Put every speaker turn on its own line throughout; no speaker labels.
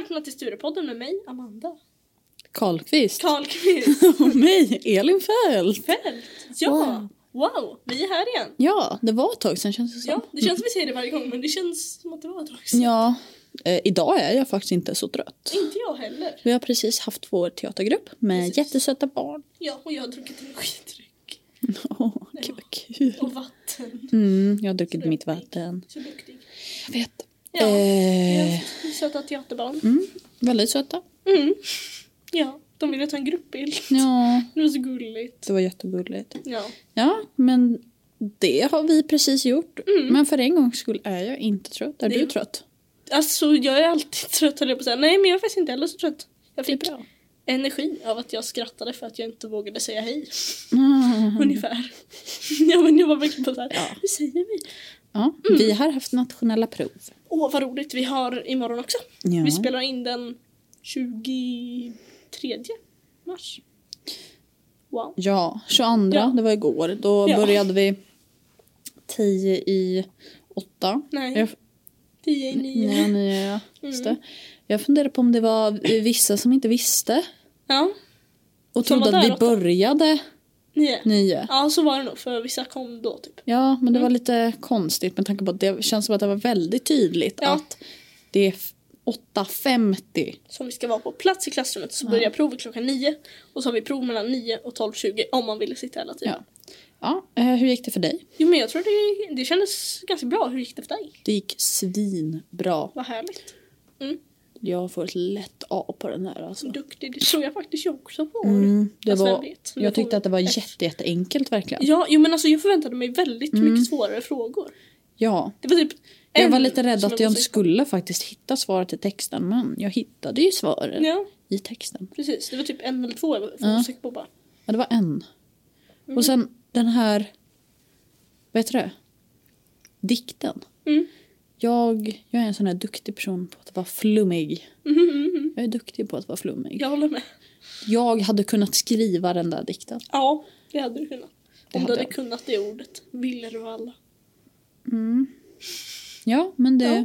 välkomna till Sturepodden med mig, Amanda.
Karlqvist.
Karlqvist.
Och mig, Elin Fält.
Fält. Ja! Wow.
Wow.
vi är här igen.
Ja, det var ett tag sedan känns det som.
Ja, det känns som vi säger det varje gång men det känns som att det var ett tag sedan.
Ja, eh, idag är jag faktiskt inte så trött.
Inte jag heller.
Vi har precis haft vår teatergrupp med
Precis.
jättesöta barn.
Ja, och jag har druckit energidryck.
Åh, gud vad kul.
Och vatten.
Mm, jag har druckit mitt vatten.
Så duktig.
Jag vet.
Ja, vi har
Eh,
haft söta teaterbarn.
mm, väldigt söta.
Mm. Ja, de ville ta en gruppbild.
Ja,
Det var så gulligt.
det var jättegulligt.
Ja.
Ja, men det har vi precis gjort.
Mm.
Men för en gångs skull är jag inte trött. Är
Det-
du trött?
Alltså jag är alltid trött höll jag på att säga. Nej men jag är faktiskt inte heller så trött. Jag
Det är
fick
bra.
energi av att jag skrattade för att jag inte vågade säga hej.
Mm.
Ungefär. ja men jag var verkligen bara såhär,
Ja.
hur säger vi?
Ja, vi
Mm.
har haft nationella prov.
Åh vad roligt, vi har imorgon också. Vi spelar in den 23 mars. Wow.
Ja, 22,
Ja.
det var igår. Då
Ja.
började vi 10 i 8.
Nej,
Jag,
10 i 9.
nej, nej, ja, just det.
Mm.
jag funderade på om det var vissa som inte visste och
Som var
trodde att
där
vi
åtta.
började
Ja, 9.
9.
Ja så var det nog för vissa kom då typ.
Ja, men det var
Mm.
lite konstigt med tanke på att det känns som att det var väldigt tydligt
Ja.
att det är f- 8.50.
Som vi ska vara på plats i klassrummet så
Ja.
börjar provet klockan 9. Och så har vi prov mellan 9 och 12.20 om man ville sitta hela tiden.
Ja. Ja, eh, hur gick det för dig?
Jo men jag tror det, det kändes ganska bra. Hur gick det för dig?
Det gick svinbra.
Vad härligt.
Jag får ett lätt A på den här alltså.
Duktig. Det tror jag faktiskt jag också får. Alltså,
Mm, det
Fast
var,
vem vet? Men
jag
får
tyckte att det var
väl-
jätte, jätteenkelt verkligen.
Ja, jo, men alltså jag förväntade mig väldigt
Mm.
mycket svårare frågor.
Ja.
Det var typ
Jag
en
var lite rädd
som
att jag
var
inte
så-
skulle faktiskt hitta svaret i texten men jag hittade ju svaret
Ja,
i texten.
precis. Det var typ en eller två jag var
Ja.
osäker på bara.
Ja, det var en.
Mm.
Och sen den här, vad heter det? Dikten.
Mm.
Jag, jag är en sån här duktig person på att vara flummig.
Mhm, mhm, mhm.
Jag är duktig på att vara flummig.
Jag håller med.
Jag hade kunnat skriva den där dikten.
Ja, det hade du kunnat.
Det
Om du
hade
hade
jag.
kunnat det ordet. Villervalla.
Mm. Ja, men det...
Ja.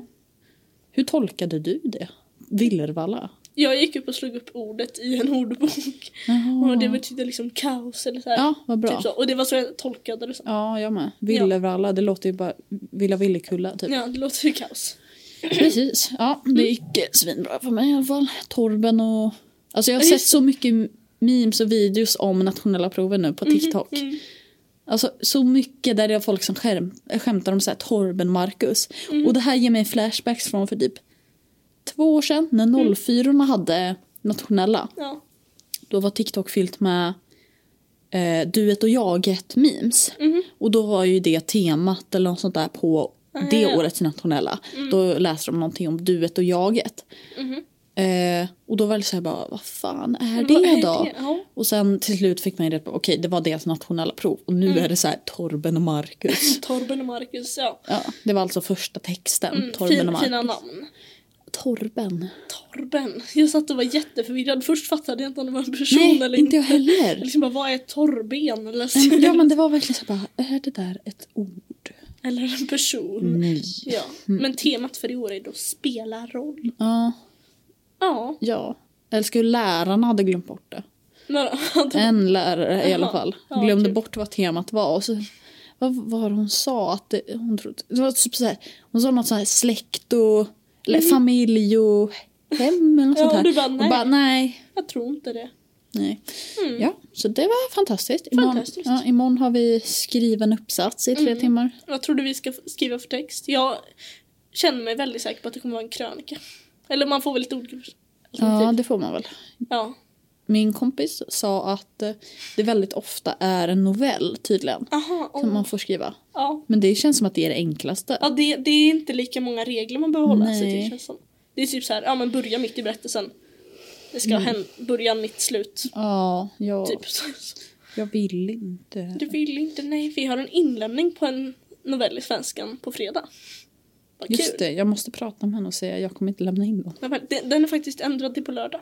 Hur tolkade du det? Villervalla?
Jag gick upp och slog upp ordet i en ordbok.
Jaha.
Och det betydde liksom kaos eller så här.
Ja, vad bra.
Typ så. Och det var så jag tolkade det. Så.
Ja, jag med. Villevralla, det låter ju bara Villa Villekulla typ.
Ja, det låter ju kaos.
Precis. Ja, det gick eh, svinbra för mig i alla fall. Torben och... Alltså jag har
Ja,
sett
just
så mycket memes och videos om nationella proven nu på TikTok.
Mm, mm.
Alltså så mycket där det är folk som skärm, skämtar om så här Torben Marcus.
Mm.
Och det här ger mig flashbacks från för typ två år sedan
Mm.
när 04 hade nationella.
Ja.
Då var TikTok fyllt med eh, duet och jaget memes.
Mhm.
Och då var ju det temat eller något sånt där på
Ah,
det
ja, ja.
årets nationella. Då läste de någonting om duet och jaget.
Mhm.
Eh, och då var det så här bara, vad fan är
Vad
det då?
Ja.
Och sen till slut fick man ju reda på, okej det var deras nationella prov och nu
Mm.
är det så här Torben och Marcus.
Torben och Marcus, ja.
Ja, det var alltså första texten,
Mm,
Torben
fin,
och Marcus.
fina namn.
Torben.
Torben. Jag satt och var jätteförvirrad. Först fattade jag inte om det var en person
Nej,
eller
inte
inte.
jag
Jag
heller.
liksom bara, vad är torrben? Eller, så,
ja men det var verkligen så här bara, är det där ett ord?
eller en person.
Nej. Mm.
Ja. Men temat för i år är då spela roll.
Ja.
Ja,
Ja. Eller skulle lärarna hade glömt bort det.
några
En lärare i alla
Jaha.
fall.
Ja,
Glömde
kul.
bort vad temat var. Och så, vad var det hon sa? Att det, hon, trodde, det var typ så här, hon sa något så här släkt och eller familj och hem eller
Mm.
något
Ja,
sånt här.
och du bara, nej.
Och bara nej.
jag tror inte det.
nej.
Mm.
Ja, så det var fantastiskt. Imorgon,
Fantastiskt.
Ja, imorgon har vi skriven uppsats i tre
Mm.
timmar.
Vad tror du vi ska f- skriva för text? Jag känner mig väldigt säker på att det kommer vara en krönika. Eller man får väl lite olika
Ja,
alternativ.
det får man väl.
Ja.
Min kompis sa att eh, det väldigt ofta är en novell tydligen.
Aha,
Som man
oh.
får skriva.
ja.
Men det känns som att det är det enklaste.
ja det, det är inte lika många regler man behöver hålla sig till
Nej.
känns som. Det är typ så här, ja men börja mitt i berättelsen. Det ska hända, början, mitt, slut.
Mm. Ja, jag,
Typ så.
jag vill inte.
Du vill inte? Nej, vi har en inlämning på en novell i svenskan på fredag. Vad
Just
kul.
det, jag måste prata med henne och säga jag kommer inte lämna in den.
Men den- Den är faktiskt ändrad till på lördag.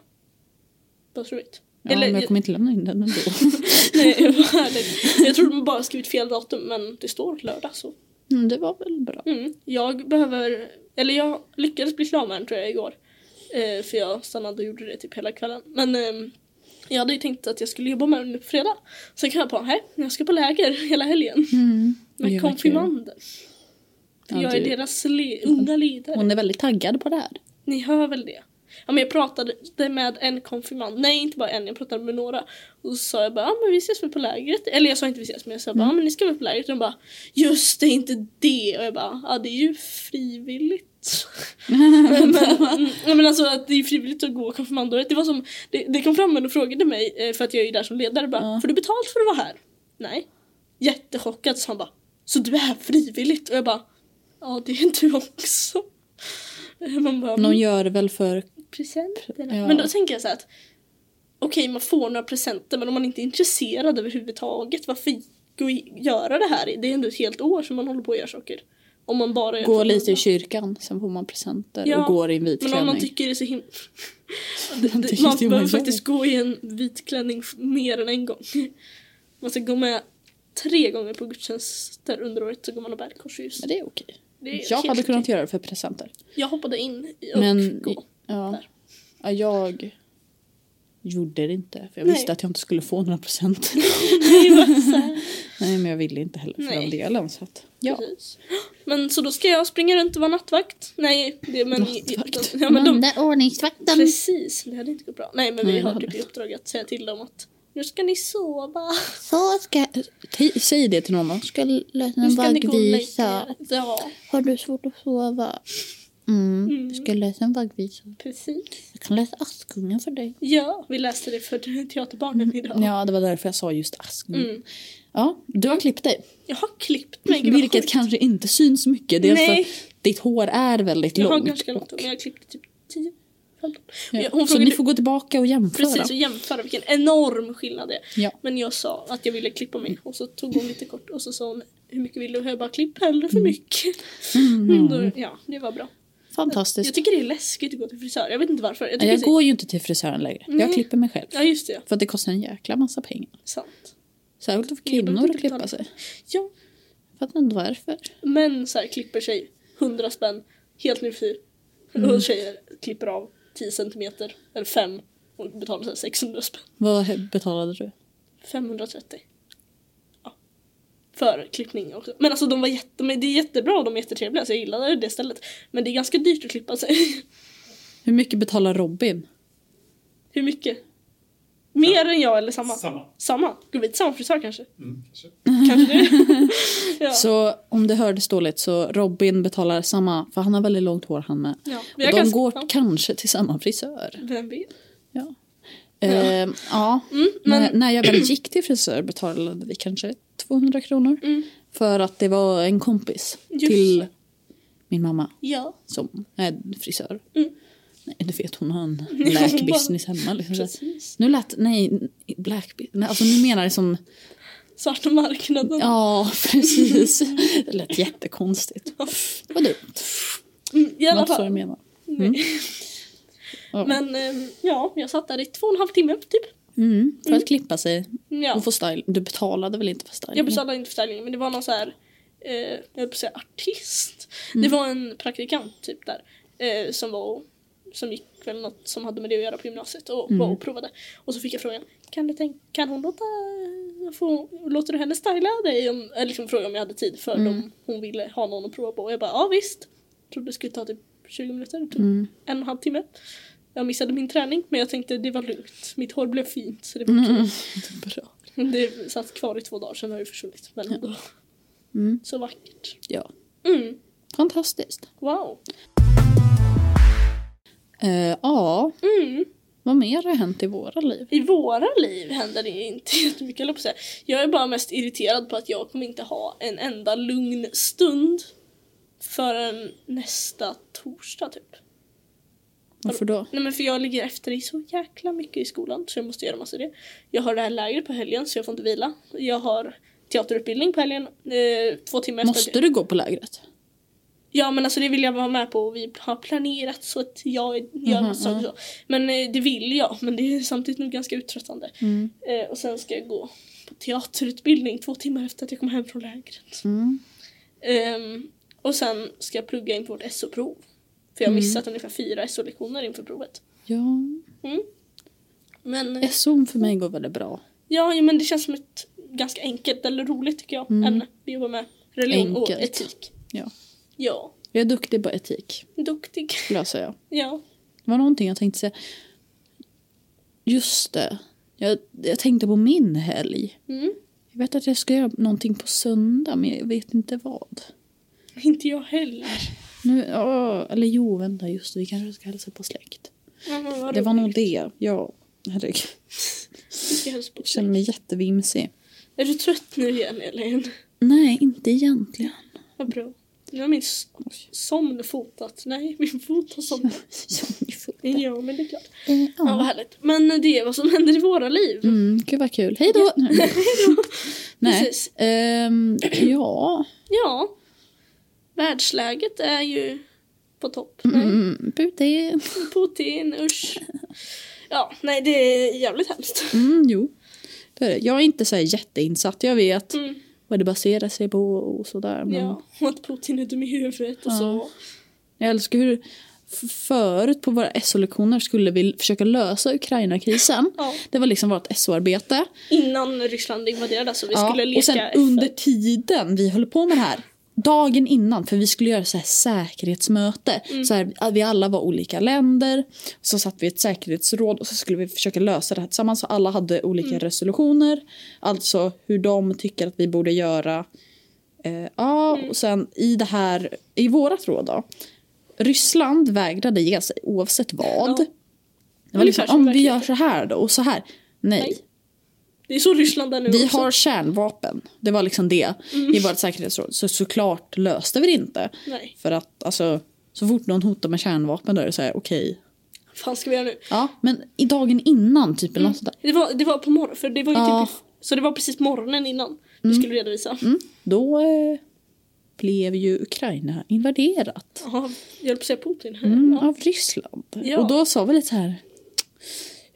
Vad roligt.
Ja,
Eller-
men jag kommer inte lämna in den ändå.
Nej, vad härligt. jag tror de bara har skrivit fel datum men det står lördag så.
Mm, det var väl bra.
Mm. Jag behöver, eller jag lyckades bli klar med den tror jag igår. Eh, för jag stannade och gjorde det typ hela kvällen. Men ehm, jag hade ju tänkt att jag skulle jobba med den nu på fredag. Sen kom jag på, nej, jag ska på läger hela helgen
Mm.
med
Gud, vad kul.
konfirmander.
Ja,
jag är
du- Mm.
deras le- unga ledare.
Hon är väldigt taggad på det här.
Ni hör väl det? Ja, men jag pratade med en konfirmand, nej inte bara en, jag pratade med några. Och så sa jag bara, ja men vi ses väl på lägret? Eller jag sa inte vi ses men jag sa bara, ja men ni ska väl på lägret? Och de bara, just det, inte det! Och jag bara, ja det är ju frivilligt. men, mm, ja, men alltså att det är frivilligt att gå konfirmandåret. Det var som, det, det kom fram en och frågade mig, eh, för att jag är ju där som ledare, bara,
Ja.
får du betalt för att vara här? Nej. Jättechockad så han bara, så du är här frivilligt? Och jag bara, ja det är du också. Man bara,
Någon gör det väl för...
presenterna.
Ja.
Men då tänker jag så här att okej man får några presenter men om man inte är intresserad överhuvudtaget varför gå i- göra det här? Det är ändå ett helt år som man håller på och gör saker. Om man bara
Gå lite i kyrkan, sen får man presenter
Mm. Ja,
och går i en vit
Men om man
klänning.
tycker det är så himla... Det-
Man
det-
tycker
man
det är
behöver
omöjligt.
faktiskt gå i en vit klänning f- mer än en gång. Man ska gå med tre gånger på gudstjänster under året så går man och bär korsljus.
Men det är okej.
Det är
Jag
helt
hade kunnat
okej.
göra det för presenter.
Jag hoppade in i- och
Men
gå.
ja,
där.
ja, jag gjorde det inte. För jag
Nej.
visste att jag inte skulle få några presenter.
Det var så här.
Nej, men jag ville inte heller för
Nej.
den delen. Så att, ja.
Precis. Men så då ska jag springa runt och vara nattvakt? Nej, det men...
Nattvakt.
Ja, men de,
ordningsvakten.
precis, det hade inte gått bra. Nej men vi
Nej, det
har
hade
typ i uppdrag att säga till dem att nu ska ni sova.
Så ska... Ti- Säg det till någon då. Ska
Nu
lösenen
ska ni gå och lägga er. Ja,
Har du svårt att sova? Mm.
Mm.
Ska lösen vaggvisa.
precis.
Jag kan läsa Askungen för dig.
Ja, vi läste det för teaterbarnen idag.
Ja, det var därför jag sa just Askungen.
Mm.
Ja, du har klippt dig.
Jag har klippt mig. gud, vad
Vilket
sjukt.
kanske inte syns mycket. Det är
Nej.
alltså att ditt hår är väldigt
Jag har
långt.
ganska långt,
och-
men jag klippte typ 10. 15. Men
ja.
jag- Hon
Så ni
frågade
får gå tillbaka och jämföra.
precis och jämföra vilken enorm skillnad det är.
Ja.
Men jag sa att jag ville klippa mig och så tog hon lite kort och så sa hon hur mycket vill du? Och jag bara klipp hellre för mycket. Mm, då, ja, det var bra.
Fantastiskt.
Jag tycker det är läskigt att gå till frisör. Jag vet inte varför. Jag
Jag,
tycker det är-
går ju inte till frisören längre.
Nej.
Jag klipper mig själv.
Ja, just det. ja.
För att det kostar en jäkla massa pengar.
Sant.
Särskilt
behöver
för typ kvinnor
inte
att klippa
betala.
sig.
Ja,
Fattar inte varför.
män så här klipper sig 100 spänn helt ny frisyr.
Mm.
Och tjejer klipper av 10 centimeter eller 5 och betalar så här 600 spänn.
Vad betalade du?
530. Ja. För klippning också. Men alltså de var jätte, men det är jättebra och de är jättetrevliga så jag gillade det stället. Men det är ganska dyrt att klippa sig.
Hur mycket betalar Robin?
Hur mycket? Mer än jag eller samma?
Samma.
Samma? Går vi till samma frisör kanske?
Mm.
Kanske det. ja.
Så om det hördes dåligt så Robin betalar samma, för han har väldigt långt hår han med.
ja.
Och
Vi
de
har ganska,
går
ja.
kanske till samma frisör.
Vem vet?
Ja.
Ja.
Ja. Ehm, ja.
Mm, men,
När, när jag väl gick till frisör betalade vi kanske 200 kronor.
Mm.
För att det var en kompis
Just
till
det.
min mamma
ja.
som är frisör.
Mm.
Nej, du vet hon har en
hon bara-
black business hemma. Liksom. Så att-
Precis.
Nu lät, nej, black bu- nej, alltså nu menar jag som,
Svarta marknaden.
ja precis. Det lät jättekonstigt. Det var dumt.
Mm, I
Det var
alla
inte så
fall.
jag menade.
Nej.
Mm. Ja.
Men ehm, ja, jag satt där i två och en halv timme typ.
Mm, för att klippa sig
Ja.
och få styling. Du betalade väl inte för styling?
Jag betalade inte för ställningen men det var någon så här, eh, jag höll på att säga artist. Det var en praktikant typ där eh, som var och, som gick väl något som hade med det att göra på gymnasiet och var och provade. Och så fick jag frågan, kan, du tänka, kan hon låta, få, låter du henne styla dig? Om, eller liksom fråga om jag hade tid för om hon ville ha någon att prova på. Och jag bara, ja visst. Trodde det skulle ta typ 20 minuter, typ
Mm.
en och en halv timme. Jag missade min träning men jag tänkte det var lugnt. Mitt hår blev fint så det
Mm.
var okej.
Bra.
Det satt kvar i två dagar, sen har det försvunnit. Men ändå.
Mm.
Så vackert.
Ja.
Mm.
Fantastiskt.
Wow.
Eh, ja,
Mm.
vad mer har hänt i våra liv?
I våra liv händer det inte jättemycket, höll jag på att säga. Jag är bara mest irriterad på att jag kommer inte ha en enda lugn stund förrän nästa torsdag, typ.
Varför då?
Nej men för jag ligger efter i så jäkla mycket i skolan så jag måste göra massa det. Jag har det här lägret på helgen så jag får inte vila. Jag har teaterutbildning på helgen, eh, två timmar efter.
Måste du gå på lägret?
Ja men alltså det vill jag vara med på och vi har planerat så att jag gör
Mhm,
massa saker så. Men eh, det vill jag men det är samtidigt nog ganska uttröttande.
Mm.
Eh, och sen ska jag gå på teaterutbildning två timmar efter att jag kom hem från lägret.
Mm.
Ehm, och sen ska jag plugga inför vårt SO-prov. För jag
Mhm.
har missat ungefär fyra SO-lektioner inför provet.
Ja,
Men eh,
SO för mig går väldigt bra.
ja, jo, men det känns som ett ganska enkelt eller roligt tycker jag ämne. Vi jobbar med religion och
Mm. Enkelt.
etik.
Ja.
Ja,
Jag är duktig på etik,
duktig.
skulle jag säga.
Ja.
Det var någonting jag tänkte säga. Just det. Jag, jag tänkte på min helg.
Mm.
Jag vet att jag ska göra någonting på söndag, men jag vet inte vad.
Inte jag heller.
Nu, åh, eller jo, vänta, just det. Vi kanske ska hälsa på släkt.
Ja, men vad
Det var
roligt.
nog det. Ja, herregud.
Vi ska hälsa på
Jag känner mig jättevimsig.
Är du trött nu igen Elin?
Nej, inte egentligen.
Vad bra. Nu har min s- somn fotat. Nej, min fot har somnat.
Som i foten.
Ja, men det är klart.
Eh,
Ja, vad
Ja.
härligt. Men det är vad som händer i våra liv.
Mm, gud vad kul. Hej då! Nej.
Precis.
Ehm, ja.
Ja. Världsläget är ju på topp. Nej,
Mm, Putin.
Putin, usch. Ja, nej det är jävligt hemskt.
Mm, jo. Det är det. Jag är inte så här jätteinsatt. Jag vet
Mm,
vad det baserar sig på och sådär. Men
ja, och att Putin är dum i huvudet och
Ja.
så.
Jag älskar hur f- förut på våra SO-lektioner skulle vi försöka lösa Ukraina-krisen.
Ja.
Det var liksom vårt SO-arbete.
Innan Ryssland invaderade så vi skulle leka
och sen
efter.
under tiden vi höll på med det här, dagen innan, för vi skulle göra så här säkerhetsmöte.
Mm.
Så här, att vi alla var olika länder, så satt vi i ett säkerhetsråd och så skulle vi försöka lösa det här tillsammans. Så alla hade olika
Mm.
resolutioner, alltså hur de tycker att vi borde göra. Eh, ja,
Mm.
och sen i det här, i vårat råd då. Ryssland vägrade ge sig oavsett vad.
Ja.
Det var liksom,
Ungefär som
om vi gör
verkligheten.
så här då och så här. Nej.
Nej. Det är så Ryssland är nu
Vi
också. Mm.
har kärnvapen. Det var liksom det i vårt säkerhetsråd. Så såklart löste vi det inte.
Nej.
För att alltså, så fort någon hotar med kärnvapen då är det så här okej.
Vad fan ska vi göra nu?
Ja, men i dagen innan typ eller något sånt där.
Det var, det var på morgonen, för det var ju
Ja.
typ Så det var precis morgonen innan vi skulle redovisa.
Mm, då eh, blev ju Ukraina invaderat
Ja, jag höll på att säga Putin.
mm,
Ja.
av Ryssland.
Ja.
Och då sa vi lite så här.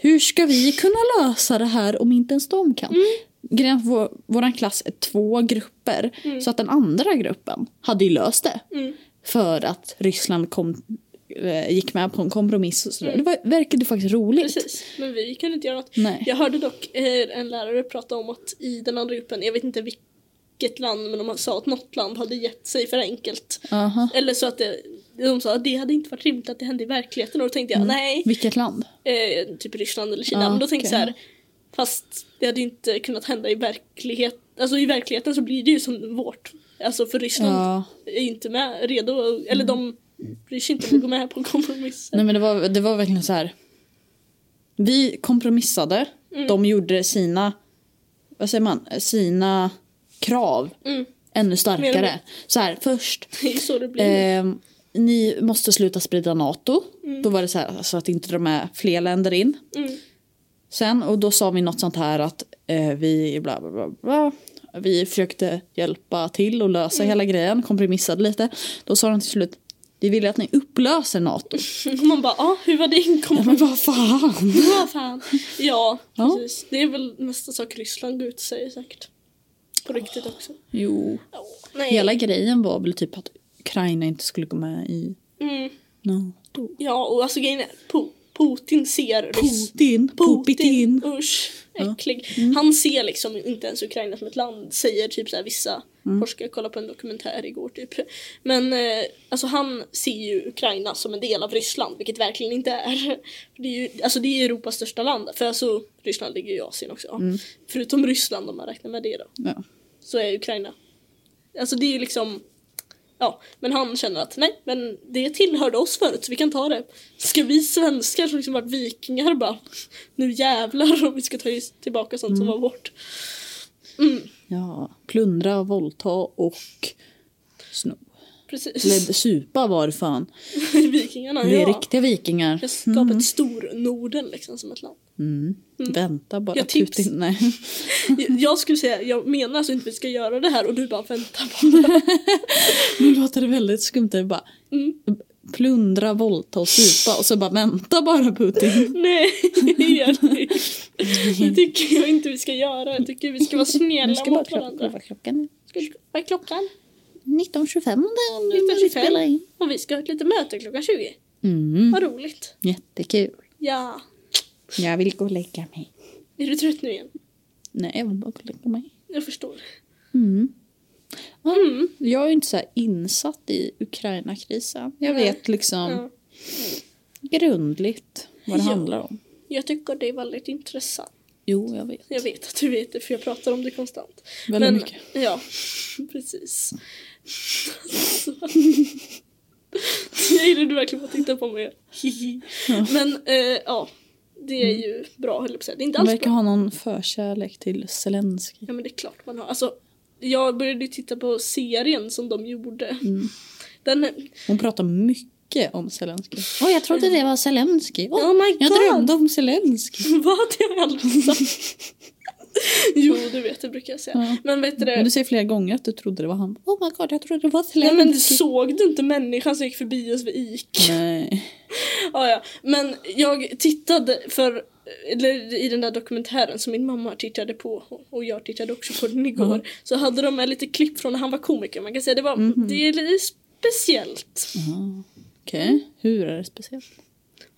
Hur ska vi kunna lösa det här om inte ens de kan?
Mm.
Grejen är att vår, våran klass är två grupper. Så att den andra gruppen hade ju löst det.
Mm.
för att Ryssland kom, eh, gick med på en kompromiss. Och sådär. Det var, verkade faktiskt roligt.
Mm. Precis, men vi kunde inte göra något.
Nej.
Jag hörde dock eh, en lärare prata om att i den andra gruppen, jag vet inte vilket land, men de sa att något land hade gett sig för enkelt.
Aha.
Eller så att det, de sa att det hade inte varit rimligt att det hände i verkligheten och då tänkte jag nej,
Vilket land?
eh, typ Ryssland eller Kina.
Mm. Ja,
men då tänkte jag så
okej.
här, fast det hade ju inte kunnat hända i verkligheten. Alltså i verkligheten så blir det ju som vårt. Alltså för Ryssland
Ja.
är ju inte med, redo, eller de bryr sig inte om att gå med på kompromisser.
Nej, men det, var, det var verkligen så här. Vi kompromissade.
Mm.
De gjorde sina, vad säger man, sina krav
Mm.
ännu
Mer och
starkare.
mer.
Så här, först
Det är ju så det blir.
Ehm, ni måste sluta sprida NATO. Då var det så här, så att inte de är fler länder in.
Mm.
Sen, och då sa vi något sånt här att eh, vi bla bla bla, bla. Vi försökte hjälpa till och lösa hela grejen, kompromissade lite. Då sa de till slut, vi vill att ni upplöser NATO.
Och man bara, ah, hur var din kompromiss?
Men vad fan!
Vad fan. Ja,
Ja.
precis. Det är väl nästa sak Ryssland går ut och säger säkert. På riktigt också.
Jo,
Ja, nej.
hela grejen var väl typ att Ukraina inte skulle gå med i
Mm.
NATO.
Ja, och alltså grejen är, Po- Putin ser Ryss-
Putin, Putin.
Usch, äcklig. Han ser liksom inte ens Ukraina som ett land, säger typ så här vissa forskare. Jag kollade på en dokumentär igår typ. Men eh, alltså han ser ju Ukraina som en del av Ryssland, vilket verkligen inte är. Det är ju, alltså det är Europas största land, för alltså Ryssland ligger ju i Asien också. Förutom Ryssland om man räknar med det då,
Ja.
så är Ukraina. Alltså det är ju liksom Ja, men han känner att nej, men det tillhörde oss förut så vi kan ta det. Ska vi svenskar som liksom varit vikingar bara, nu jävlar om vi ska ta tillbaka sånt som var
Mm.
vårt.
Ja, plundra, våldta och sno.
Precis.
Eller supa var det fan.
Vikingarna,
Det är
ja.
riktiga vikingar. Mm.
Jag skapade ett stor-Norden liksom som ett land.
Vänta bara.
Jag tips.
Putin- Nej.
Jag- Jag skulle säga, jag menar alltså inte vi ska göra det här och du bara vänta bara.
Nu låter det väldigt skumt. Det är bara
Mm.
plundra, våldta och supa. Och så bara vänta bara Putin.
Nej, Elin. Det tycker jag inte vi ska göra. Jag tycker vi ska vara snälla
Nu ska bara
mot
klockan.
varandra.
Vad klockan är.
Ska- Vad är klockan?
19.25 om det- om vi
19.25.
spelar in.
Och vi ska ha ett litet möte klockan 20.
Mm,
Vad roligt.
jättekul.
Ja.
Jag vill gå och lägga mig.
Är du trött nu igen?
Nej, jag vill bara gå och lägga mig.
Jag förstår.
Mm. Ja,
Mm.
Jag är ju inte så här insatt i Ukraina-krisen. Jag
Nej.
vet liksom
Ja.
grundligt vad det
Ja.
handlar om.
Jag tycker det är väldigt intressant.
Jo, jag vet.
Jag vet att du vet det för jag pratar om det konstant.
Väldigt mycket.
Ja, precis. Så. Jag gillar du verkligen att titta på mig. Hihi. Men eh, ja, det
Mm.
är ju bra höll jag på att säga. Det är inte
Han
alls
verkar
bra.
ha någon förkärlek till Zelensky.
Ja men det är klart man har. Alltså, jag började ju titta på serien som de gjorde. Den,
Mm. Hon pratar mycket om Zelensky. Åh, jag trodde det var Zelensky. Åh,
Oh my
jag
God.
drömde om Zelensky.
vad det har jag aldrig sagt. Jo, du vet det brukar jag säga.
Ja.
Men vet du det?
Men du säger flera gånger att du trodde det var han. Oh my god, jag trodde det var
Nej
Zelensky.
men såg du inte människan som gick förbi oss vid IK?
Nej.
Ja, ja. Men jag tittade för, eller i den där dokumentären som min mamma tittade på och jag tittade också på den igår. Så hade de med lite klipp från när han var komiker. Man kan säga det var, det är lite speciellt.
Jaha. Okej, Mm. hur är det speciellt?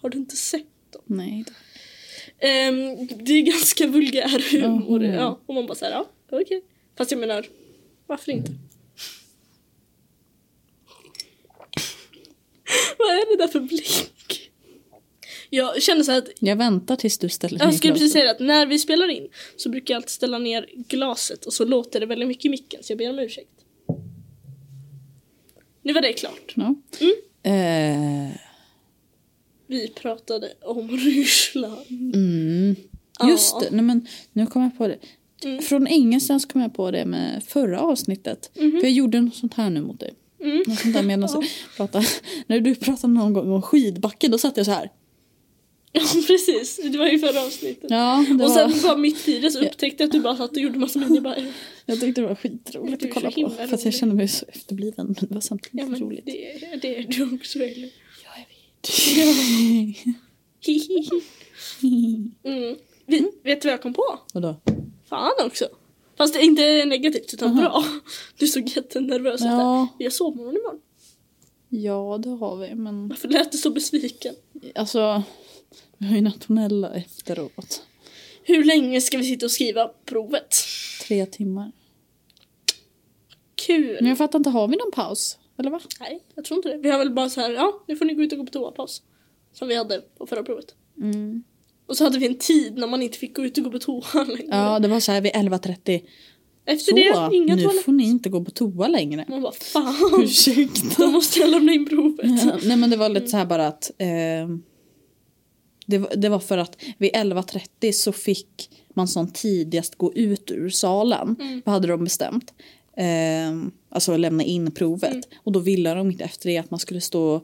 Har du inte sett? dem?
Nej.
Ehm, det är ganska vulgär humor.
Jaha.
Ja, och man bara såhär, ja okej. Fast jag menar, varför inte? Vad är det där för blick? Jag känner så här att
Jag väntar tills du ställer ner
Jag skulle
glasen.
precis säga det, att när vi spelar in så brukar jag alltid ställa ner glaset och så låter det väldigt mycket i micken så jag ber om ursäkt. Nu var det klart.
Ja.
Mm.
Eh,
Vi pratade om Ryssland.
Mm. Just
Ja.
det, nej men nu kom jag på det.
Mm.
Från ingenstans kom jag på det med förra avsnittet.
Mhm.
För jag gjorde något sånt här nu mot dig.
Mm.
Något sånt där medan jag pratade. När du pratade någon gång om skidbacken då satt jag så här.
Ja precis, det var ju förra avsnittet.
Ja, det
och
var,
sen bara mitt i det så upptäckte jag att du bara satt och gjorde massa mini bara,
jag tyckte det var
Du
skitroligt
är
att
så
kolla på.
himla
För att jag
rolig.
kände mig så efterbliven men det var samtidigt
Ja men
roligt.
det, det är du också eller?
Ja, jag vet.
Hihihi. Mm. Vi, Vet du vad jag kom på?
Vadå?
Fan också. Fast det är inte negativt utan bra. Du såg jättenervös ut där.
Ja,
Jag sovmorgon imorgon.
ja, det har vi. Men
Varför lät du så besviken?
alltså, vi har ju nationella efteråt.
Hur länge ska vi sitta och skriva provet?
Tre timmar.
Kul!
Men jag fattar inte, har vi någon paus? Eller va?
Nej, jag tror inte det. Vi har väl bara så här, ja, nu får ni gå ut och gå på toapaus. Som vi hade på förra provet. Mm. Och så hade vi en tid när man inte fick gå ut och gå på toa längre.
Ja, det var så här vid 11.30.
Efter
Så,
Mm. det, inga
nu
toaletter. Mm.
får ni inte gå på toa längre.
Man bara, fan!
Ursäkta.
Då måste jag lämna in provet.
Ja, Nej men det var lite så här bara att eh, det, var- det var för att vid 11.30 så fick man som tidigast gå ut ur salen.
Mm.
Vad hade de bestämt? Eh, alltså lämna in provet.
Mm.
Och då ville de inte efter det att man skulle stå och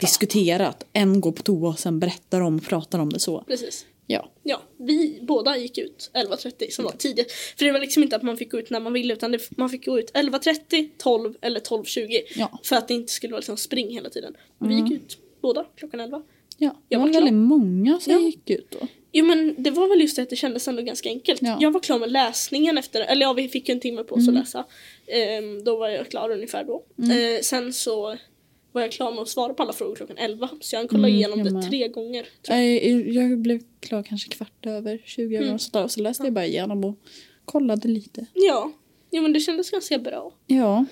diskutera att en går på toa och sen berättar de och pratar om det så.
Precis.
Ja.
Ja, vi båda gick ut 11.30 som var tidigt. För det var liksom inte att man fick gå ut när man ville utan det, man fick gå ut 11.30, 12 eller 12.20.
Ja.
För att det inte skulle vara liksom spring hela tiden. Vi
Mm.
gick ut båda klockan 11.
ja. Det
Jag
var
var klar.
väldigt många som
Ja.
gick ut då.
Jo men det var väl just det att det kändes ändå ganska enkelt.
Ja. Mm.
Jag var klar med läsningen efter, eller ja vi fick ju en timme på oss att läsa. Ehm, då var jag klar ungefär då. Eh, sen så var jag klar med att svara på alla frågor klockan 11. Så jag kollade
Mm,
igenom
jag
det
med.
tre gånger. Tror Mm.
Nej, Jag blev klar kanske kvart över 20 över och sådär. Och så läste jag bara igenom och kollade lite.
jag. Ja. Jo men det kändes ganska bra.
Ja.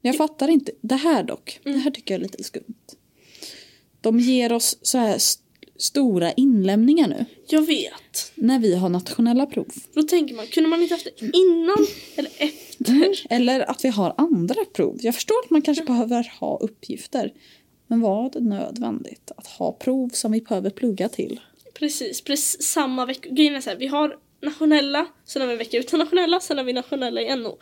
Jag fattar inte. Det här dock.
Mm.
Det här tycker jag är lite skumt. De ger oss så här st- stora inlämningar nu.
Jag vet.
När vi har nationella prov.
Då tänker man, kunde man inte haft det innan eller efter?
Eller att vi har andra prov. Jag förstår att man
Mm.
kanske behöver ha uppgifter. Men var det nödvändigt att ha prov som vi behöver plugga till?
Precis, precis samma vecka. Grejen är så här, vi har nationella, sen har vi en vecka utan nationella, sen har vi nationella i NO.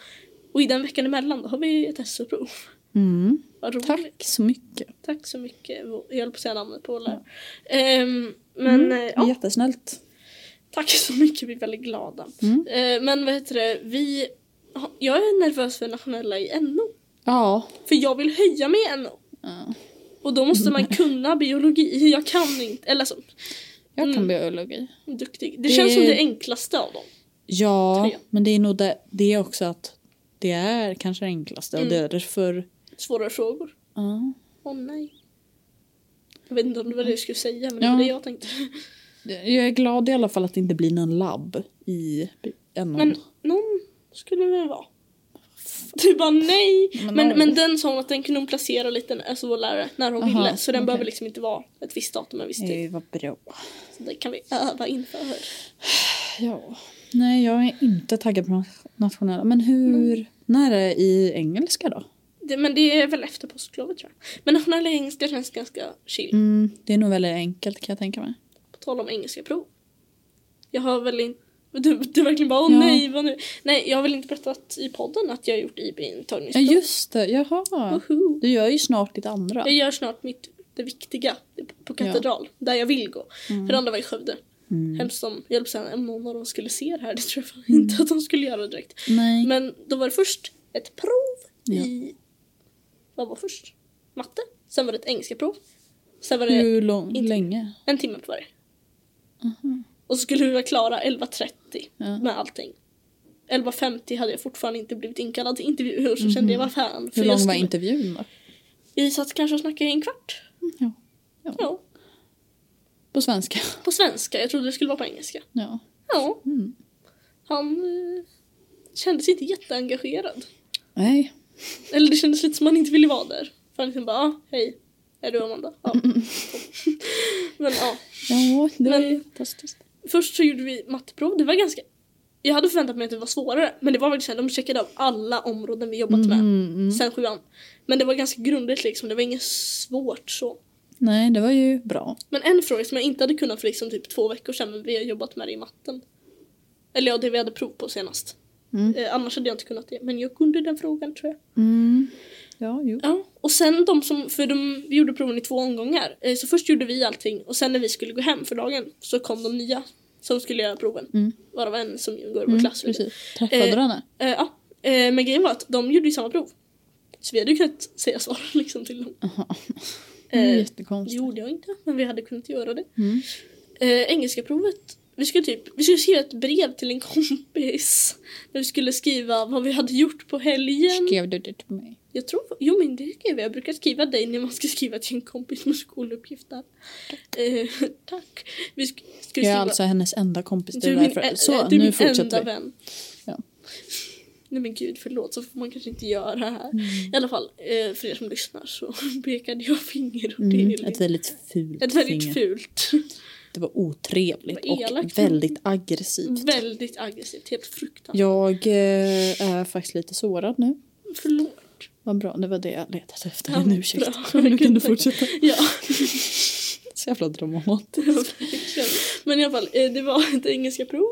Och i den veckan emellan då har vi ett SO-prov.
Mm.
Vad roligt.
Tack så mycket.
Tack så mycket. Jag höll på att säga namnet på läraren. Ehm, men
Mm,
eh, ja,
Jättesnällt.
tack så mycket, vi är väldigt glada.
Mm.
Eh, men vad heter det, vi... Jag är nervös för nationella i NO.
Ja.
För jag vill höja mig i NO.
Ja.
Och då måste man kunna biologi. Jag kan inte, eller så,
Jag kan
Mm.
biologi.
duktig. Det,
Det-
känns som det enklaste av dem.
Ja,
Tre.
men det är nog det, det är också att Det är kanske det enklaste och
Mm.
det är därför...
Svårare frågor.
Ja.
Åh nej. Jag vet inte om det var det jag skulle säga men det
Ja.
var det jag tänkte.
Jag är glad i alla fall att det inte blir någon labb i NO.
Men någon skulle det väl vara? Du bara nej!
Men
Men, men,
någon-
den sa hon att den kunde hon placera lite, alltså vår lärare, när hon
Aha,
ville. Så den
okej.
behöver liksom inte vara ett visst datum, en viss tid.
det var bra.
Så det kan vi öva inför.
Ja. Nej, jag är inte taggad på nationella. Men hur... När är det i engelska då?
Det, men det är väl efter påsklovet tror jag. Men nationella engelska känns ganska chill.
Mm, det är nog väldigt enkelt kan jag tänka mig.
På tal om engelska prov. Jag har väl inte... Du, du verkligen bara åh
Ja.
nej, vad nu? Nej, jag har väl inte berättat i podden att jag har gjort
Ja,
IB-intagningsprov.
just det. Jaha.
Woho!
Du gör ju snart ditt andra.
Jag gör snart mitt, det viktiga på katedral, där jag vill gå. För det andra var i Skövde.
Mm.
Hemskt om, jag höll på att säga, om någon av dem skulle se det här, det tror jag fan inte att de skulle göra direkt.
Nej.
Men då var det först ett prov
Ja.
i, vad var först? Matte. Sen var det ett engelska prov. Sen var det
Hur lång,
inte-
länge? Mhm.
en timme på varje. Och så skulle vi vara klara 11.30
Ja.
med allting. 11.50 hade jag fortfarande inte blivit inkallad till intervjuer så kände jag vad fan.
Mhm. Hur
jag
lång var
skulle-
intervjun då?
Vi satt kanske och snackade i en kvart.
Ja.
Ja.
På svenska?
På svenska, jag trodde det skulle vara på engelska.
Ja.
Ja,
Mm.
han eh, kändes inte jätteengagerad.
Nej.
Eller det kändes lite som att han inte ville vara där. För han liksom bara, ah, hej, är du Amanda? Ja. Men ja,
Ja, det var
Men-
ju fantastiskt.
först så gjorde vi matteprov, det var ganska jag hade förväntat mig att det var svårare men det var faktiskt så här, de checkade av alla områden vi jobbat med
Mm, mm.
sen sjuan. Men det var ganska grundligt liksom, det var inget svårt så.
Nej, det var ju bra.
Men en fråga som jag inte hade kunnat för liksom typ två veckor sedan men vi har jobbat med det i matten. Eller ja, det vi hade prov på senast.
Mm.
Eh, annars hade jag inte kunnat det. Men jag kunde den frågan tror jag.
Mm. Ja, jo.
Ja. Och sen de som, för de vi gjorde proven i två omgångar. Eh, så först gjorde vi allting och sen när vi skulle gå hem för dagen så kom de nya som skulle göra proven.
Mm.
Varav en som ingår i vår
Mm,
klass. vet du.
precis. Träffade du
Eh,
henne?
Eh, ja. eh, men grejen var att de gjorde ju samma prov. Så vi hade ju kunnat säga svar liksom till dem.
Jaha. Det är
Eh, det
Mm, jättekonstigt.
gjorde jag inte men vi hade kunnat göra det.
Mm.
Eh, engelska provet. Vi skulle, typ, vi skulle skriva ett brev till en kompis. Där vi skulle skriva vad vi hade gjort på helgen.
Skrev du det till mig?
Jag tror, jo men det skrev jag. Jag brukar skriva dig när man ska skriva till en kompis med skoluppgifter. Eh, tack. Vi sk- skulle
Jag är
skriva,
alltså hennes enda kompis. Det
du
är
är min,
därför.
ä- eh,
Så,
du är
nu
min enda
fortsätter vi.
vän.
Ja.
Nej men gud förlåt så får man kanske inte göra här. I alla fall eh, för er som lyssnar så pekade jag finger liksom. och det är
Mm,
lite-
ett väldigt fult
ett
finger.
väldigt fult.
Det var otrevligt
Det var elakt. Mm.
och väldigt aggressivt.
väldigt aggressivt. Helt fruktansvärt.
Jag eh, är faktiskt lite sårad nu.
Förlåt.
Vad bra, det var det jag letade efter.
Ja,
en ursäkt.
bra.
Nu kan du fortsätta.
Ja,
Så jävla dramatiskt.
verkligen. Men i alla fall, eh, det var ett engelska prov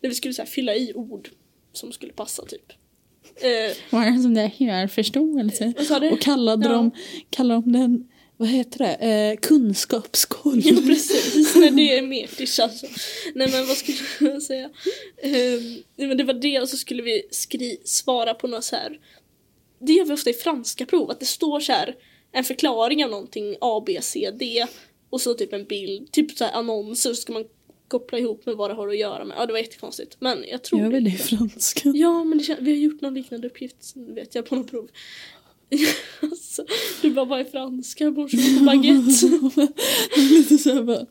där vi skulle så här, fylla i ord som skulle passa typ. Eh,
Många som det här förståelse.
vad sa du?
Och kallade
Ja.
dem, kallade dem den, vad heter det, eh, kunskapskolv.
Ja precis, när det är metish alltså. Nej men vad skulle jag säga? Ehm, nej, men det var det och så skulle vi skri- svara på något så här. Det gör vi ofta i franska prov, att det står så här en förklaring av någonting A, B, C, D och så typ en bild, typ så här annonser så ska man koppla ihop med vad det har att göra med. Ja det var jättekonstigt men jag tror
Gör väl det i
gick bra.
franska?
Ja men det kän- vi har gjort någon liknande uppgift sen vet jag på något prov. alltså, du bara vad är franska? Bonjour baguette.
Lite såhär bara...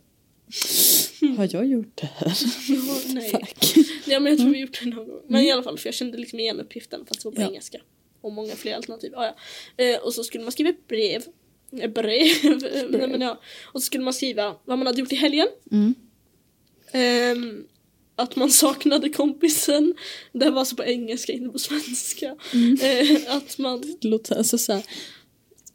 Har jag gjort det här?
Ja, Nej.
Fuck.
Ja men jag tror vi gjort det någon gång. Men i alla fall för jag kände liksom igen uppgiften fast det var på
Mm. Ja.
engelska. Och många fler alternativ. Ah, ja. eh, och så skulle man skriva ett brev. Ett brev? Nej, men ja. Och så skulle man skriva vad man hade gjort i helgen.
Mm.
Ehm, att man saknade kompisen. Det här var alltså på engelska, inte på svenska.
Mm.
Eh, att man...
Det låter alltså såhär...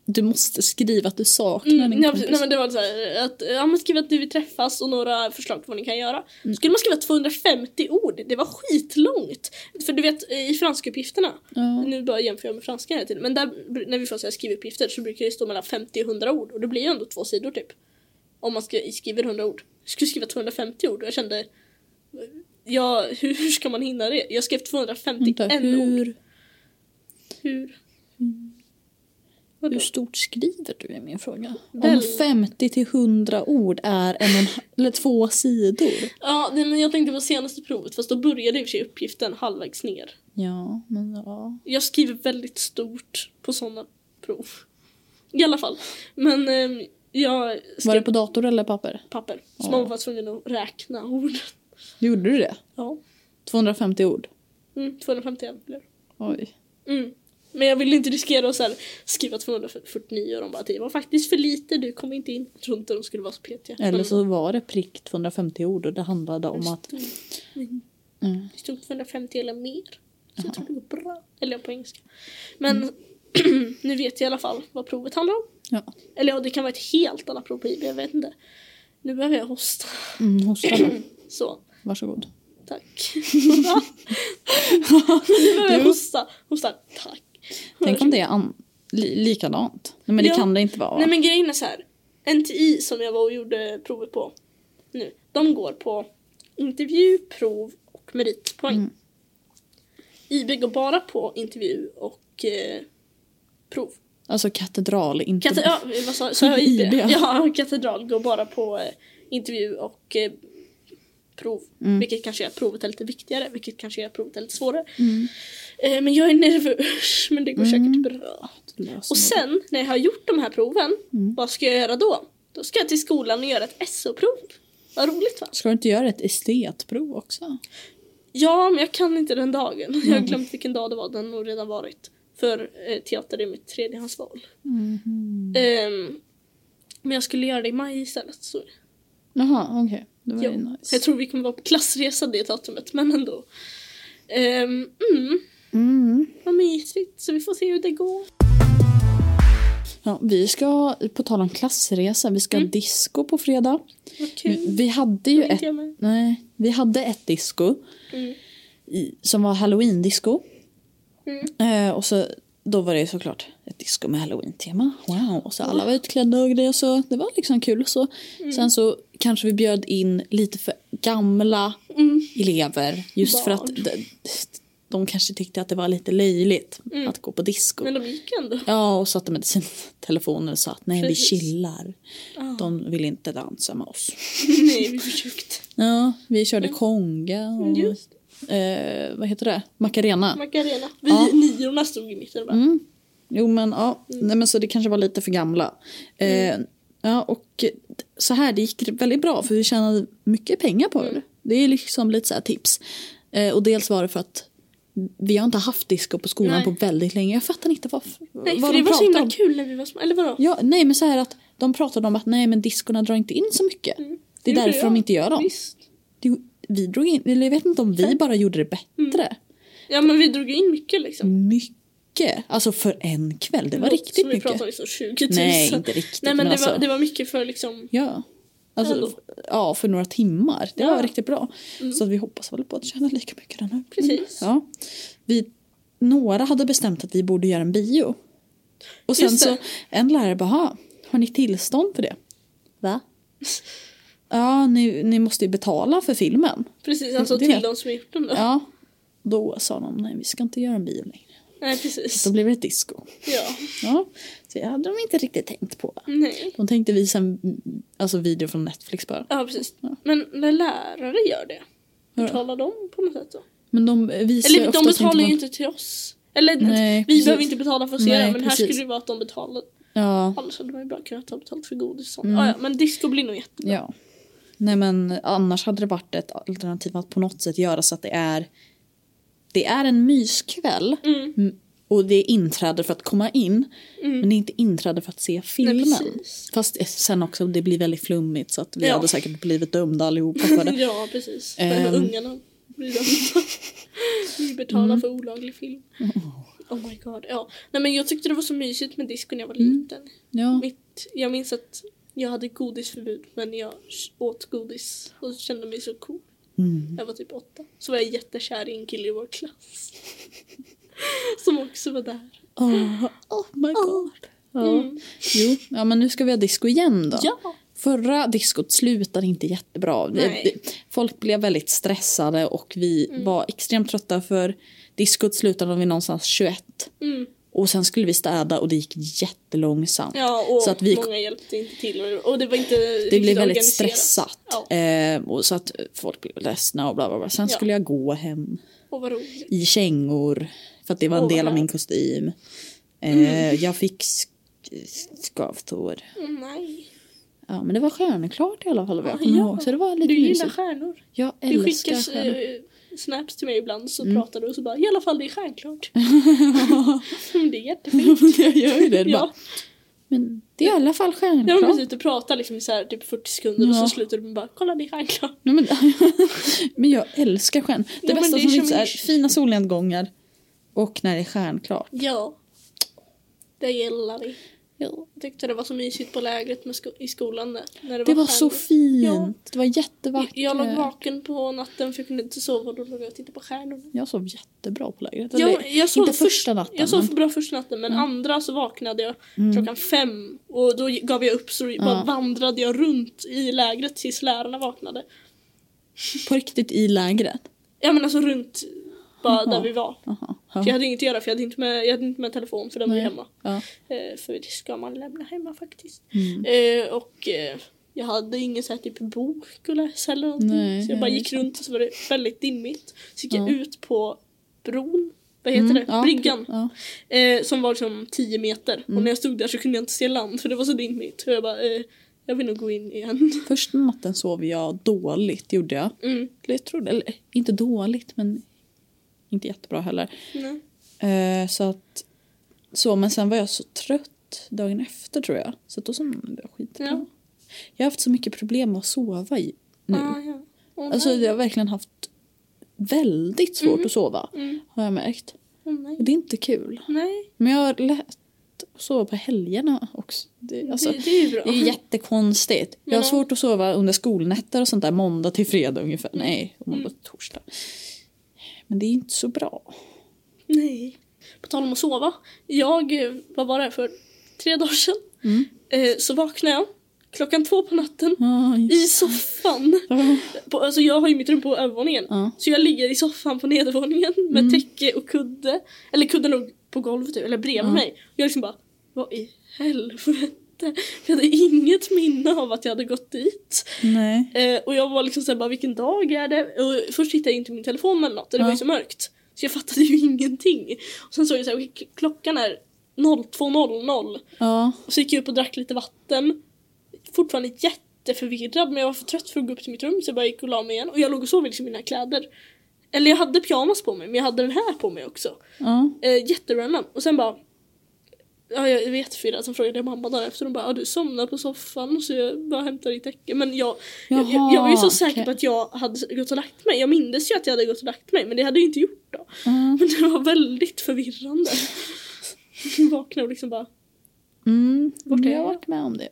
Du måste skriva att du saknar
Mm,
din
nej,
kompis.
nej men det var så här, att, ja, men skriva att du vill träffas och några förslag på vad ni kan göra.
Mm.
Skulle man skriva 250 ord? Det var skitlångt! För du vet i franskuppgifterna
ja.
Nu bara jämför jag med franskan hela tiden. Men där, när vi får så här skrivuppgifter så brukar det stå mellan 50 och 100 ord. Och det blir ju ändå två sidor typ. Om man ska, skriver 100 ord. Jag skulle skriva 250 ord och jag kände... Ja, hur, hur ska man hinna det? Jag skrev 251
Vänta,
ord.
hur...
Hur? Vadå?
Hur stort skriver du är min fråga. Om
Väl-
50 till 100 ord är en och en, eller två sidor.
Ja, nej, men jag tänkte på senaste provet fast då började i och för sig uppgiften halvvägs ner.
Ja, men ja.
Jag skriver väldigt stort på sådana prov. I alla fall. Men ehm, jag
Var det
skrev
på dator eller papper?
papper. Så
Ja.
man var tvungen att räkna ord.
Gjorde du det?
Ja.
250 ord?
Mm, 251 blev det.
Oj.
Mm. Men jag ville inte riskera att så här, skriva 249 och de bara det var faktiskt för lite, du kom inte in. Jag tror inte de skulle vara så petiga.
Eller
Men-
så var det prick 250 ord och det handlade om att...
Det
Mm.
stod 250 eller mer. Så jag tror det går bra. Eller på engelska. Men
Mm.
nu vet jag i alla fall vad provet handlar om.
Ja.
Eller ja, det kan vara ett helt annat prov på IB, jag vet inte. Nu behöver jag hosta.
Mm, hosta då.
Så,
Varsågod.
tack. nu behöver jag
Du-
hosta. Hosta, tack.
Tänk om det är an- li- likadant. Nej, men det
Ja.
kan det inte vara.
Nej men grejen är så här. NTI som jag var och gjorde provet på nu, de går på intervju, prov och meritpoäng.
Mm.
IB går bara på intervju och eh, prov.
Alltså katedral, inte...
Kate- ja, vad sa, sa jag IB?
IB, ja.
Ja, katedral går bara på eh, intervju och eh, prov.
Mm.
Vilket kanske är att provet är lite viktigare, vilket kanske är att provet är lite svårare.
Mm.
Eh, men jag är nervös, men det går
Mm.
säkert bra.
Du
Och
löser nog
sen när jag har gjort de här proven,
Mm.
vad ska jag göra då? Då ska jag till skolan och göra ett SO-prov. Vad roligt va?
det. Ska du inte göra ett estetprov också?
Ja, men jag kan inte den dagen. Jag har glömt vilken dag det var, den har nog redan varit. För eh, teater är mitt tredjehandsval.
Mhm.
Ehm, men jag skulle göra det i maj istället. Så.
Jaha, okej. Det var
Ja,
ju nice.
Jag tror vi kommer vara på klassresa det datumet, men ändå. Ehm, mm,
Mm.
vad mysigt, så vi får se hur det går.
Ja, vi ska, på tal om klassresa, vi ska ha
Mm.
disco på fredag.
Vad
Vi,
kul.
vi hade ju
Då
ett...
inte jag med.
Nej, vi hade ett disco
Mm.
i, som var halloween-disco.
Mm.
Eh, och så, då var det ju såklart ett disco med halloween-tema. Wow! Och så alla var utklädda och grejer så det var liksom kul och så.
Mm.
Sen så kanske vi bjöd in lite för gamla
Mm.
elever just för att
Barn.
de, de kanske tyckte att det var lite löjligt
Mm.
att gå på disco.
Men de gick ändå.
Ja, och så att de med sina telefoner och sa att nej,
Precis.
vi chillar.
Ah.
De vill inte dansa med oss.
Nej, vi försökte.
Ja, vi körde konga och
Mm, Just
eh, vad heter det? Macarena.
Macarena. Vi
Ja.
niorna stod i mitten och bara.
Mm. Jo men ja,
Mm.
Nej, men så det kanske var lite för gamla. Eh, ja, och så här, det gick väldigt bra för vi tjänade mycket pengar på
Mm.
det. Det är liksom lite så här tips. Eh, och dels var det för att vi har inte haft disco på skolan
Nej.
på väldigt länge. Jag fattar inte varför.
Nej,
vad
för det var så
pratar
himla
om.
kul när vi var små. Eller vadå?
Ja, nej men så här att de pratade om att nej men diskorna drar inte in så mycket. Det är
Mm. gjorde
därför de
jag.
inte gör dem.
Visst.
Det, vi drog in, eller jag vet inte om vi bara gjorde det bättre.
Ja, men vi drog in mycket liksom.
Mycket. Alltså för en kväll. Mm. Det var riktigt
Som vi
mycket.
pratade liksom 20 000.
Nej, inte riktigt.
Nej, men,
men
det,
alltså,
var, det var mycket för liksom...
Ja. Alltså,
Ändå.
f- ja, för några timmar. Det var
Ja. Mm.
riktigt bra. Så att vi hoppas väl på att tjäna lika mycket den här.
Precis.
Mm, Ja. Vi, några hade bestämt att vi borde göra en bio. Och sen
Just
så
det.
en lärare bara, "Ha, har ni tillstånd för det? Va? Ja, ni, ni måste ju betala för filmen.
Precis, alltså
Det
till
vet-
de som har gjort den då.
Ja. Då sa de, nej vi ska inte göra en bio längre.
Nej, precis.
Då blev det ett disco.
Ja.
Ja. Så det hade de inte riktigt tänkt på.
Nej.
De tänkte visa en alltså, video från Netflix bara.
Ja, precis.
Ja.
Men när lärare gör det,
Ja.
betalar de på något sätt då?
Men de visar ju
Eller de
oftast
betalar
inte
ju
vad-
inte till oss. Eller
Nej,
vi
precis.
behöver inte betala för att se
Nej,
det, men här
precis.
skulle det vara att de betalar.
Ja,
Annars hade man ju bara kunnat ta betalt för godis och sånt. Ah, ja, men disco blir nog jättebra.
ja. Nej men annars hade det varit ett alternativ att på något sätt göra så att det är det är en myskväll
Mm.
m- och det är inträde för att komma in
Mm.
men det är inte inträde för att se filmen.
Nej, precis.
Fast eh, sen också det blir väldigt flummigt så att vi
Ja.
hade säkert blivit dömda allihopa för det.
Ja, precis.
Ehm.
Men ungarna blir dömda. Vi betalar för olaglig film. Mm. Oh my god. Ja. Nej, men jag tyckte det var så mysigt med disco när jag var liten.
Ja.
Mitt, jag minns att jag hade godisförbud men jag åt godis och kände mig så cool.
Mm.
Jag var typ åtta. Så var jag jättekär i en kille i vår klass. Som också var där.
Oh, oh my god. Ja.
Mm.
Jo, ja, men nu ska vi ha disco igen då.
Ja.
Förra diskot slutade inte jättebra. Vi-
Nej. Mm.
vi- Folk blev väldigt stressade och vi var extremt trötta för diskot slutade vid någonstans 21.
Mm.
Och sen skulle vi städa och det gick jättelångsamt.
Ja, och
Så att vi-
många hjälpte inte till. Och det var inte
Det
riktigt
blev väldigt
organiserat.
stressat.
Ja.
Eh, och så att folk blev ledsna och bla bla bla. Sen
Ja.
skulle jag gå hem
Och vad roligt.
i kängor. För att det var en
Åh, vad
del av min
härligt.
kostym. Eh, Jag fick sk- skavtår.
Mm, Nej.
Ja men det var stjärnklart i alla fall vad jag
Ja,
kommer
Ah, ja.
ihåg. Så det var lite
Du gillar
mysigt.
stjärnor.
Jag
Du
älskar
skickar
stjärnor. Mm.
eh, snaps till mig ibland så pratar du och så bara i alla fall det är stjärnklart. Mm, det är jättefint.
jag gör ju det. det bara,
Ja,
men det är i alla fall
ja
stjärnklart.
men precis, du pratar liksom i så här, typ 40 sekunder och
Ja.
så slutar du med bara kolla det är stjärnklart.
Nej, men, men jag älskar stjärn. Det
Ja, men
bästa
det är
som
som
finns är
en-
fina solnedgångar och när det är stjärnklart.
Ja. Det gillar vi.
Ja.
Jag tyckte det var så mysigt på lägret med sko- i skolan när när det,
Det var så
stjärnor.
fint.
Ja.
Det var jättevackert.
Jag låg vaken på natten för jag kunde inte sova och då låg jag och tittade på stjärnorna.
Jag sov jättebra på lägret.
Jag,
Eller,
jag sov
inte
först-
första natten.
Jag sov
men-
för
Mm.
bra första natten men andra så vaknade jag klockan fem och då gav jag upp så bara vandrade jag runt i lägret tills lärarna vaknade.
På riktigt i lägret.
Ja men alltså runt bara där vi var.
Jaha.
För jag hade inget att göra för jag hade inte med, jag hade inte med telefon för den var
Nej.
hemma.
Ja.
Eh, för det ska man lämna hemma faktiskt.
Mm.
Eh, och eh, jag hade ingen så här typ bok att läsa eller någonting.
Nej,
så jag bara
nej,
gick runt och så var det väldigt dimmigt. Så gick jag
Ja.
ut på bron, vad heter
Mm,
det?
ja.
Bryggan.
Ja.
Eh, som var liksom 10 meter. Och
Mm.
när jag stod där så kunde jag inte se land för det var så dimmigt. Så jag bara, eh, jag vill nog gå in igen.
Första natten sov jag dåligt, gjorde jag.
Mm.
Eller jag trodde, eller inte dåligt men inte jättebra heller.
Nej.
Eh, så att, så, men sen var jag så trött dagen efter tror jag. Så att då somnade jag skitbra.
Ja.
Jag har haft så mycket problem med att sova i nu.
Ah, ja. Åh,
Mm. Alltså
nej.
jag har verkligen haft väldigt svårt att sova.
Mm.
Har jag märkt.
Åh, nej.
Och det är inte kul.
Nej,
Men jag har lätt att sova på helgerna också. Det, alltså,
det, det är ju bra.
det är jättekonstigt. Jag har
Ja.
svårt att sova under skolnätter och sånt där måndag till fredag ungefär.
Mm.
Nej, och måndag till torsdag. Men det är inte så bra.
Nej. På tal om att sova. Jag, eh, vad var det, för tre dagar sedan
Mm.
eh, så vaknade jag klockan två på natten
Aj.
i soffan. På, alltså jag har ju mitt rum på övervåningen.
Ja.
Så jag ligger i soffan på nedervåningen med täcke och kudde. Eller kudden låg på golvet typ, eller bredvid mig. Och jag liksom bara, vad i helvete? För jag hade inget minne av att jag hade gått dit.
Nej.
Eh, och jag var liksom såhär bara, vilken dag är det? Och först hittade jag inte min telefon eller något, och det var ju
Ja.
så mörkt. Så jag fattade ju ingenting. Och sen såg jag såhär, okej, k- klockan är 02.00.
Ja.
Och så gick jag upp och drack lite vatten. Fortfarande jätteförvirrad men jag var för trött för att gå upp till mitt rum så jag bara gick och la mig igen. Och jag låg och sov liksom i mina kläder. Eller jag hade pyjamas på mig men jag hade den här på mig också.
ja.
Eh, jätterandom. Och sen bara... Ja, jag var jätteförvirrad. Sen frågade jag mamma dagen efter. Hon bara, ja, du somnade på soffan så jag bara hämtade ditt täcke. Men jag, jag, jag, jag var ju så
Jaha,
säker på
okej.
att jag hade gått och lagt mig. Jag mindes ju att jag hade gått och lagt mig men det hade jag ju inte gjort då.
Mm.
Men det var väldigt förvirrande. Jag vaknade och liksom bara,
Mm.
Vart är
Jag har
jag?
varit med om det.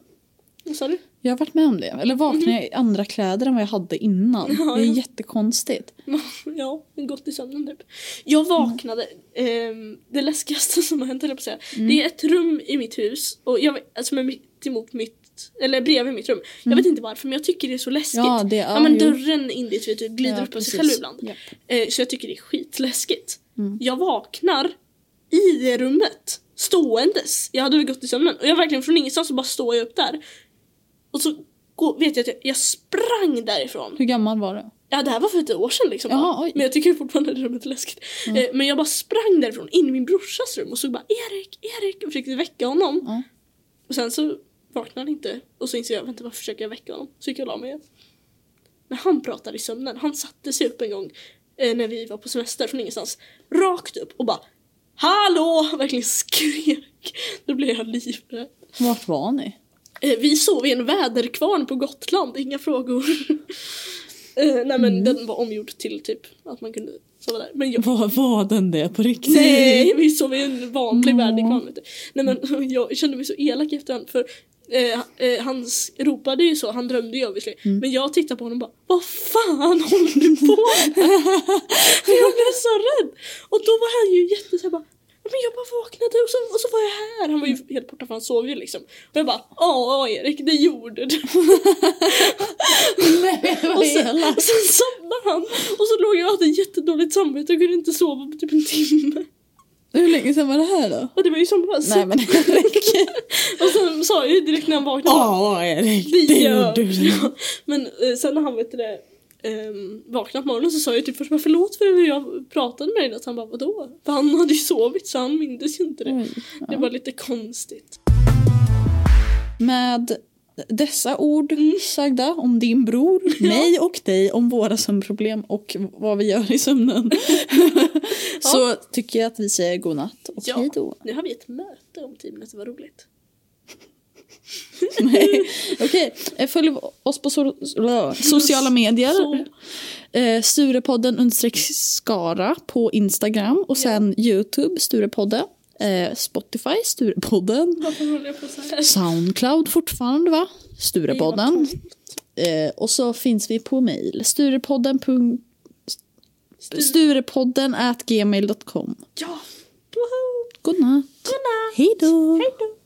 vad sa du?
Jag har varit med om det. Eller vaknade jag i andra kläder än vad jag hade innan.
Mm. Ja,
Det är
ja.
jättekonstigt.
Ja, gått i sömnen typ. Jag vaknade, ehm, det läskigaste som har hänt höll jag på att säga.
Mm.
Det är ett rum i mitt hus, och jag, vet- alltså med mitt emot mitt, eller bredvid mitt rum. Jag vet inte varför men jag tycker det är så läskigt.
Mm. Ja, det-
ja,
ja,
men
jo.
dörren in dit vet du, glider
Ja,
upp av sig
precis.
själv ibland.
Japp.
Eh, så jag tycker det är skitläskigt.
Mm.
Jag vaknar i det rummet, ståendes. Jag hade väl gått i sömnen och jag verkligen från ingenstans så bara står jag upp där. Och så går, vet jag att jag, jag sprang därifrån.
Hur gammal var du?
Ja det här var för ett år sedan liksom.
Jaha,
bara.
oj.
men jag tycker fortfarande det är lite läskigt. Eh, men jag bara sprang därifrån in i min brorsas rum och såg bara Erik, Erik och försökte väcka honom.
Ja.
Och sen så vaknade han inte och så insåg jag vänta varför försöker jag väcka honom? Så gick jag och la mig igen. Men han pratade i sömnen. Han satte sig upp en gång eh, när vi var på semester från ingenstans. Rakt upp och bara Hallå! Verkligen skrek. Då blev jag livrädd.
Vart var ni?
Eh, Vi sov i en väderkvarn på Gotland, inga frågor. eh, nej men den var omgjord till typ att man kunde sova där. Men jag,
Var, var den det på riktigt?
nej, vi sov i en vanlig
Mm.
väderkvarn. Vet du. Nej men jag kände mig så elak efterhand för eh, eh, han s- ropade ju så, han drömde ju obviously.
Mm.
Men jag tittade på honom och bara Vad fan håller du på med? för jag blev så rädd. Och då var han ju jätte så här, bara "Ja, men jag bara vaknade och så, och så var jag här. Han var
Mm.
ju helt borta för han sov ju liksom. Och jag bara ja Erik det gjorde du.
nej
Och sen, och sen somnade han och så låg jag och hade jättedåligt samvete och kunde inte sova på typ en timme.
Hur länge sedan var det här då?
Och det var ju i somras.
Nej men Erik.
Och sen sa jag ju direkt när han vaknade.
Ja Erik,
Det
det
gör-
gjorde du.
Men eh, sen när han vet du det, ehm, vaknade på morgonen så sa jag typ först bara förlåt för hur jag pratade med dig. Så han bara vadå? För han hade ju sovit så han mindes ju inte det.
Oj,
Det var lite konstigt.
Med dessa ord
Mm.
sagda om din bror, mig och dig, om våra sömnproblem och vad vi gör i sömnen. Så tycker jag att vi säger godnatt och
Ja.
hej då.
Nu har vi ett möte om tio minuter, vad roligt.
Nej. Okej, eh, följ oss på so lö- sociala medier.
Så.
Eh, Sturepodden understreck Skara på Instagram och sen Youtube, Sturepodden. Eh, Spotify, Sturepodden.
Varför håller jag på så här?
Soundcloud fortfarande va? Sturepodden. Eh, och så finns vi på mail. Sturepodden. punkt- Sturepodden at gmail.com.
Ja! Woho!
Godnatt.
Godnatt!
Hej då.
Hej då!